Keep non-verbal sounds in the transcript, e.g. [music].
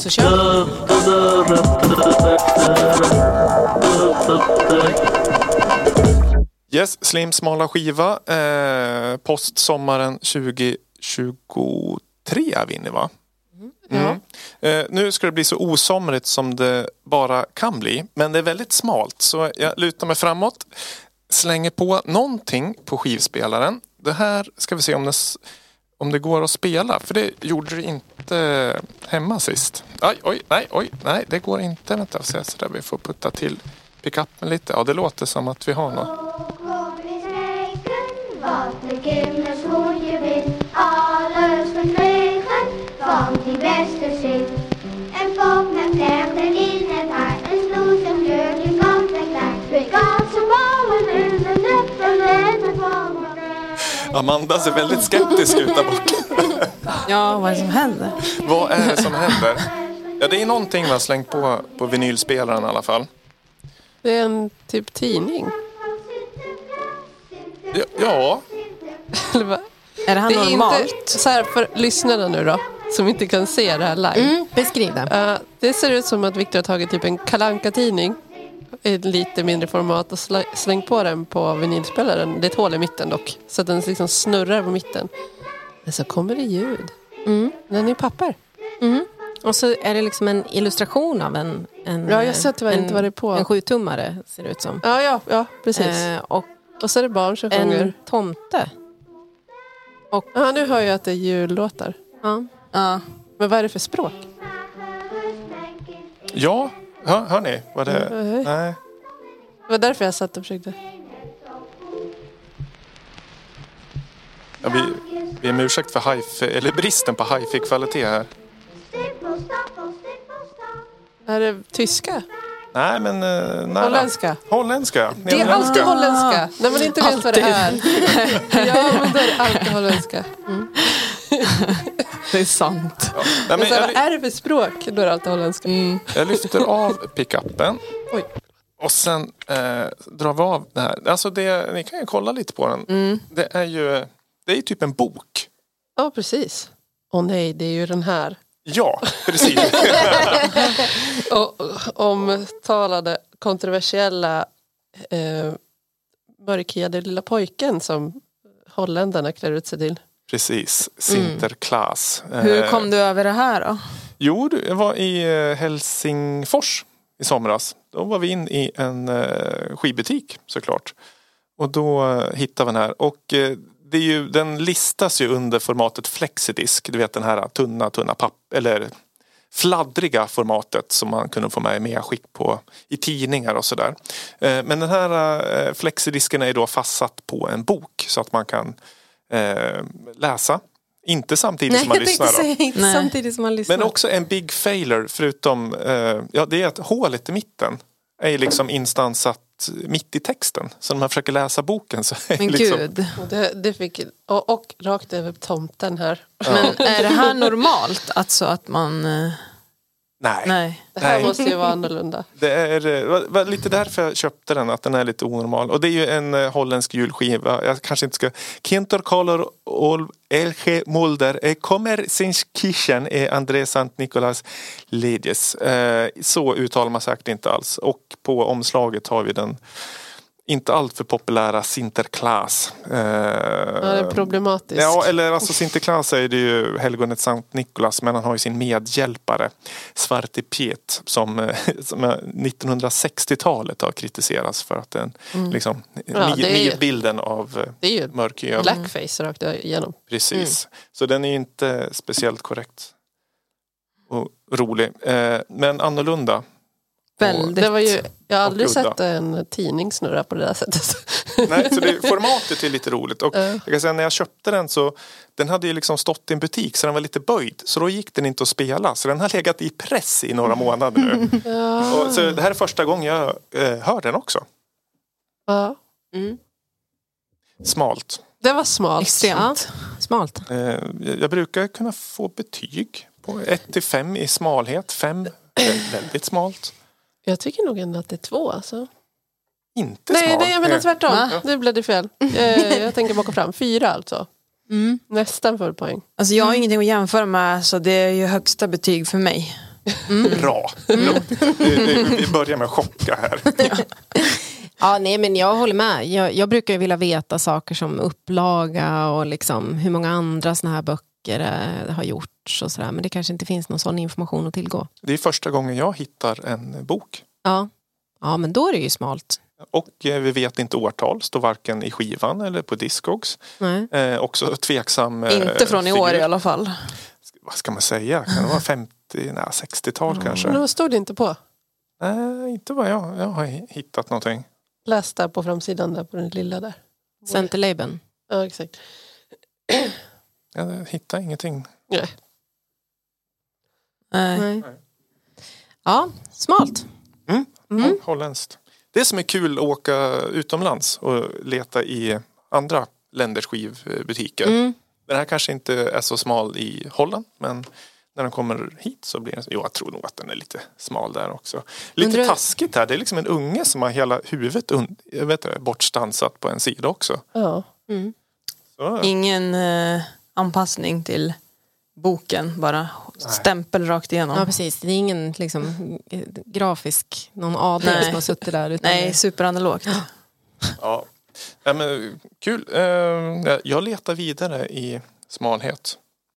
Så kör vi. Yes, Slim smala skiva. Eh, post sommaren 2023 är vi inne va? Mm. Eh, nu ska det bli så osomrigt som det bara kan bli. Men det är väldigt smalt så jag lutar mig framåt. Slänger på någonting på skivspelaren. Det här ska vi se om det, s- om det går att spela. För det gjorde det inte hemma sist. Aj, oj, nej, oj, nej, det går inte. Vänta, jag får se, så där, vi får putta till pickupen lite. Ja, det låter som att vi har något. Wat de kinders hoe je wit, alles verkregen van die beste zin. En pop met verder in het haar, een snoezem jurkje van de klein. We kansen bouwen in de netten en het warme Amanda ser väldigt skeptisk ut där borta. Ja, vad är det som händer? Vad är det som händer? Ja, det är någonting man har slängt på, på vinylspelaren i alla fall. Det är en typ tidning. Ja, ja, Eller vad? Är det här Det är normalt? inte... Så här för lyssnarna nu då, som inte kan se det här live. Mm, beskriv det. Eh, det ser ut som att Victor har tagit typ en kalanka tidning i ett lite mindre format och sla- slängt på den på vinylspelaren. Det är ett hål i mitten dock, så att den liksom snurrar på mitten. Men så kommer det ljud. Mm. Den är i papper. Och så är det liksom en illustration av en... en Ja, jag ser tyvärr en, inte vad det är på. En sjutummare ser det ut som. Ja, ja, ja precis. Eh, och och så är det barn som en sjunger. tomte. Ja, nu hör jag att det är jullåtar. Ja. Ja. Men vad är det för språk? ja. Hör, hör ni vad det Mm, är? Nej. Det var därför jag satt och försökte. Ja, vi, vi är med ursäkt för hifi, eller bristen på hifi-kvalitet här. Stippel, stappel, stippel, stappel. Är det tyska? Nej, men eh, nära. Holländska. Holländska. Det är alltid holländska. Ah. När man inte vet vad det är. Ja, men då är det alltid holländska. Det är sant. Ja. Nej, men Men så här, jag, Mm. vad är det för språk? Då är det alltid holländska. Jag lyfter av pickuppen. Oj. Och sen eh, drar vi av det här. Alltså det, ni kan ju kolla lite på den. Mm. Det är ju det är ju typ en bok. Ja, precis. Åh nej, det är ju den här. Ja, precis. Och, omtalade kontroversiella eh, mörkhyade lilla pojken som holländarna klär ut sig till. precis. Sinterklaas. Mm. Eh, Hur Eh, kom du över det här då? Jo, du, jag var i eh, Helsingfors i somras. Då var vi in i en eh, skibutik såklart. Och då eh, hittade vi den här. Och eh, det är ju, den listas ju under formatet flexidisk. Du vet den här tunna, tunna papp eller fladdriga formatet som man kunde få med i medskick på i tidningar och sådär. Eh, Men den här eh, flexidisken är då fastsatt på en bok så att man kan eh, läsa. Inte samtidigt som man lyssnar. då. inte Nej. samtidigt som man lyssnar. Men också en big failure förutom, eh, ja det är att hålet i mitten är ju liksom instansat mitt i texten. Så när man försöker läsa boken så är Men liksom, gud. Och, det, det fick, och, och rakt över tomten här. Men är det här normalt? Alltså att man... eh, nej. Nej. Det här Nej. måste ju vara annorlunda. Det är eh, var- var lite därför jag köpte den, att den är lite onormal. Och det är ju en eh, holländsk julskiva. Jag kanske inte ska... Kinter kolor ol elche mulder eh, kommer sinch kischen eh, André Sant Nicolas Ledjes. Eh, Så uttalar man säkert inte alls. Och på omslaget har vi den inte alltför populära Sinterklaas. Eh, Ja, det är problematiskt. Ja, eller alltså Sinterklaas är det ju helgonet Sankt Nikolas men han har ju sin medhjälpare Svarte Piet som, eh, som eh, 1960-talet har kritiserats för att den liksom Mm. Ja, ni- det är ju- nidbilden av eh, det är ju mörkhyad. blackface rakt igenom. Precis. Mm. Så den är ju inte speciellt korrekt och rolig. Eh, Men annorlunda. Väldigt. Det var ju, jag har aldrig Och udda. sett en tidning snurra på det där sättet. [laughs] Nej, så det, formatet är lite roligt. Och Ja. jag kan säga, när jag köpte den så den hade ju liksom stått i en butik så den var lite böjd. Så då gick den inte att spela. Så den har legat i press i några månader [laughs] nu. Och, så det här är första gången jag eh, hör den också. Ja. Smalt. Det var smalt. Extremt. Smalt. Eh, jag- jag brukar kunna få betyg på 1 till 5 i smalhet. 5 väldigt smalt. Jag tycker nog ändå att det är två. Alltså. Inte Nej, smalt. nej, jag menar Eh, tvärtom. Va? Nu blev det fel. Eh, jag tänker baka fram. Fyra alltså. Mm. Nästan full poäng. Mm. Alltså jag har ingenting att jämföra med så det är ju högsta betyg för mig. Bra! Mm. [laughs] Lugnt. Det- det- Vi börjar med att chocka här. Ja, nej, men jag håller med. Jag, jag brukar ju vilja veta saker som upplaga och liksom hur många andra såna här böcker eh, har gjorts och sådär. Men det kanske inte finns någon sån information att tillgå. Det är första gången jag hittar en bok. Ja, ja men då är det ju smalt. Och eh, vi vet inte årtal, står varken i skivan eller på Discogs. Nej. Eh, också tveksam eh, Inte från i år figur. i alla fall. Vad ska man säga? Kan det vara 50, nej, 60-tal Men Mm. kanske? vad stod det inte på? Nej, inte vad jag, jag har hittat någonting. Läs där på framsidan där på den lilla där. Centerleben. Ja, exakt. Jag hittar ingenting. Nej. Nej. Mm. Nej. Ja, smalt. Mm. Holländskt. Det som är kul att åka utomlands och leta i andra länders skivbutiker. Mm. Den här kanske inte är så smal i Holland men när den kommer hit så blir den, jo jag tror nog att den är lite smal där också. Lite Undrar- taskigt här, det är liksom en unge som har hela huvudet un, jag vet inte, bortstansat på en sida också. Ja. Mm. Så, Ingen eh, anpassning till boken, bara stämpel rakt igenom. Ja, precis. Det är ingen liksom, eh, grafisk, någon adel Nej. som har suttit där. Utan Nej, superanalogt. ja. Ja, men, kul, Eh, jag letar vidare i smalhet.